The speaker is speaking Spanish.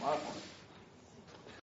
Marco.